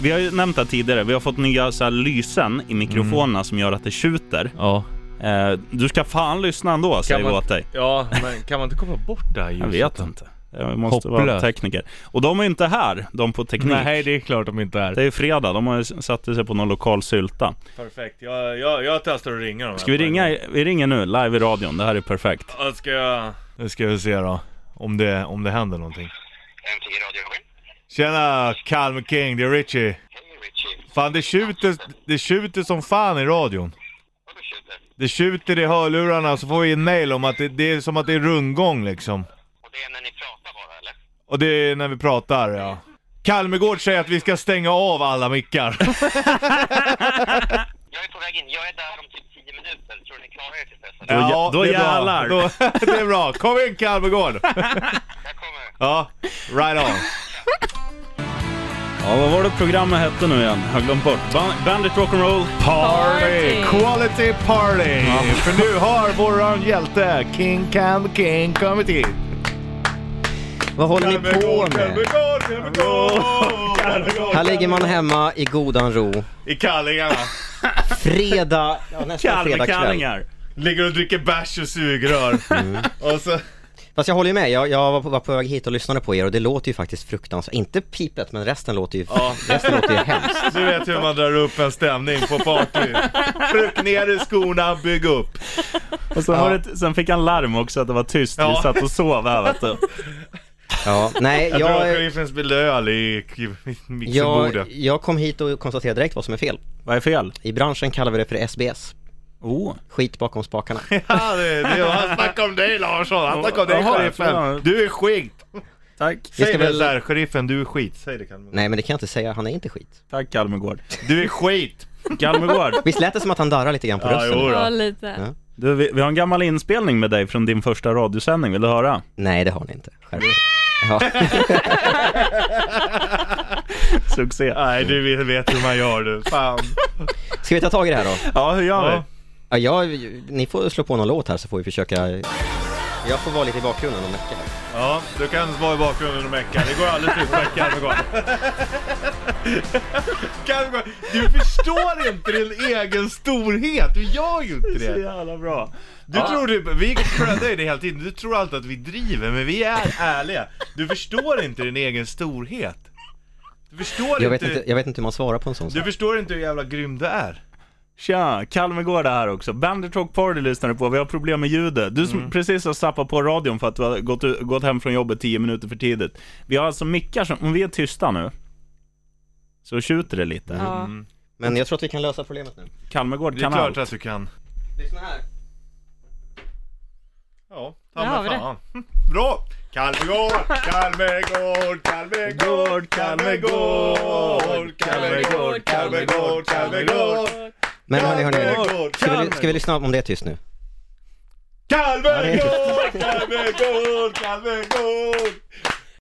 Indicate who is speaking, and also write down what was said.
Speaker 1: Vi har ju nämnt det här tidigare, vi har fått nya så här lysen i mikrofonerna som gör att det tjuter.
Speaker 2: Ja.
Speaker 1: Eh, du ska fan lyssna ändå säger vi
Speaker 3: man-
Speaker 1: åt dig.
Speaker 3: Ja, men kan man inte komma bort det här
Speaker 1: Jag
Speaker 3: ljuset?
Speaker 1: vet inte. Jag måste vara
Speaker 2: Hopplöst.
Speaker 1: tekniker. Och de är inte här, de på teknik.
Speaker 2: Nej, det är klart de inte är.
Speaker 1: Det är fredag, de har ju satt sig på någon lokal sylta.
Speaker 3: Perfekt, jag, jag, jag testar att ringa dem här
Speaker 1: Ska vi
Speaker 3: på en
Speaker 1: ringa?
Speaker 3: gång.
Speaker 1: Vi ringer nu, live i radion. Det här är perfekt.
Speaker 3: Ja, ska jag... Nu ska vi se då. Om det, om det händer någonting.
Speaker 4: MTG Radio Robin.
Speaker 3: Tjena Calm King, det är Richie.
Speaker 4: Hej Richie.
Speaker 3: Fan det tjuter, det tjuter som fan i radion.
Speaker 4: Vadå tjuter?
Speaker 3: Det tjuter i hörlurarna så får vi en mail om att det, det är som att det är rundgång liksom.
Speaker 4: Och det är när ni pratar bara eller?
Speaker 3: Och det är när vi pratar ja. Kalmegård säger att vi ska stänga av alla mickar.
Speaker 4: Jag är på väg in. Jag är där om typ 10 minuter. Tror ni klarar er till dess? eller?
Speaker 3: Ja,
Speaker 1: då
Speaker 3: det är bra.
Speaker 1: jävlar.
Speaker 3: Då, det är bra. Kom in Kalmegård.
Speaker 4: Jag kommer.
Speaker 3: Ja, right on.
Speaker 1: Ja, vad var det programmet hette nu igen? Jag har glömt bort. Ban- Bandit Rock'n'Roll.
Speaker 3: Party!
Speaker 5: Party.
Speaker 3: Quality party! För nu har våran hjälte King Can the King kommit hit.
Speaker 6: Vad håller ni på med? Här ligger man hemma i godan ro.
Speaker 3: I kallingarna.
Speaker 6: Fredag, ja, nästan fredag kväll.
Speaker 1: Kalvekallingar.
Speaker 3: Ligger och dricker bärs och sugrör.
Speaker 1: Mm.
Speaker 3: Och så...
Speaker 6: Fast jag håller ju med, jag, jag var, på, var på väg hit och lyssnade på er och det låter ju faktiskt fruktansvärt. Inte pipet, men resten låter ju, resten låter ju hemskt.
Speaker 3: Du vet hur man drar upp en stämning på party. Tryck ner i skorna, bygg upp.
Speaker 1: Och sen, var det, sen fick han larm också att det var tyst.
Speaker 3: Ja.
Speaker 1: Vi satt och sov här vet du.
Speaker 6: Ja, nej,
Speaker 3: Jag, tror att
Speaker 6: jag,
Speaker 3: sheriffen spillde öl i
Speaker 6: jag,
Speaker 3: mixerbordet.
Speaker 6: jag kom hit och konstaterade direkt vad som är fel.
Speaker 1: Vad är fel?
Speaker 6: I branschen kallar vi det för SBS.
Speaker 1: Oh.
Speaker 6: Skit bakom spakarna.
Speaker 3: Ja, det, det, han snackade om dig Larsson, han snackade om dig
Speaker 1: Jaha,
Speaker 3: sheriffen.
Speaker 1: förlåt.
Speaker 3: Du är skit!
Speaker 1: Tack.
Speaker 6: Vi
Speaker 3: Säg
Speaker 6: ska
Speaker 3: det
Speaker 6: väl-
Speaker 3: såhär, sheriffen du är skit. Säg det Kalmegård.
Speaker 6: Nej men det kan jag inte säga, han är inte skit.
Speaker 1: Tack Kalmegård.
Speaker 3: Du är skit!
Speaker 1: Kalmegård,
Speaker 6: Visst lät det som att han darrar lite grann på rösten?
Speaker 3: jo.
Speaker 5: Ja, lite.
Speaker 1: du, vi, vi har en gammal inspelning med dig från din första radiosändning. Vill du höra?
Speaker 6: Nej det har ni inte. Skärp er. Ja.
Speaker 1: Succé.
Speaker 3: Nej du vet, vet hur man gör du, fan.
Speaker 6: Ska vi ta tag i det här då?
Speaker 1: Ja, hur gör
Speaker 3: Ja.
Speaker 1: vi?
Speaker 6: Ja, jag, ni får slå på någon låt här så får vi försöka Jag får vara lite i bakgrunden och mecka här.
Speaker 3: Ja, du kan vara i bakgrunden och mecka. Det går alldeles utmärkt Kalmegård. Kalmegård, du förstår inte din egen storhet. Du gör ju inte det.
Speaker 1: jävla bra.
Speaker 3: Du tror du, vi creddar ju det hela tiden. Du tror alltid att vi driver, men vi är ärliga. Du förstår inte din egen storhet. Du förstår
Speaker 6: Jag vet
Speaker 3: inte,
Speaker 6: inte, jag vet inte hur man svarar på en sån
Speaker 3: Du
Speaker 6: sak.
Speaker 3: förstår inte hur jävla grym du är.
Speaker 1: Tja, Kalmegård är här också. Bandit Rock Party lyssnar du på. Vi har problem med ljudet. Du som
Speaker 3: Mm.
Speaker 1: precis har zappat på radion för att du har gått, ut- gått hem från jobbet 10 minuter för tidigt. Vi har alltså mickar som, om vi är tysta nu, så tjuter det lite.
Speaker 5: Ja.
Speaker 6: Men jag tror att vi kan lösa problemet nu.
Speaker 1: Kalmegård
Speaker 3: Det är
Speaker 1: kan
Speaker 3: klart
Speaker 1: allt.
Speaker 3: att du kan.
Speaker 6: Lyssna här.
Speaker 3: Ja,
Speaker 5: Där
Speaker 3: ta
Speaker 5: har vi
Speaker 3: mig
Speaker 5: det.
Speaker 3: fan. Bra! Kalmegård, Kalmegård, Kalmegård, Kalmegård, Kalmegård, Kalmegård, Kalmegård,
Speaker 6: Men hörni, hörni, hörni.
Speaker 3: Kalmegård,
Speaker 6: Ska vi, ska vi lyssna om det är tyst nu?
Speaker 3: Kalmegård, Kalmegård, Kalmegård,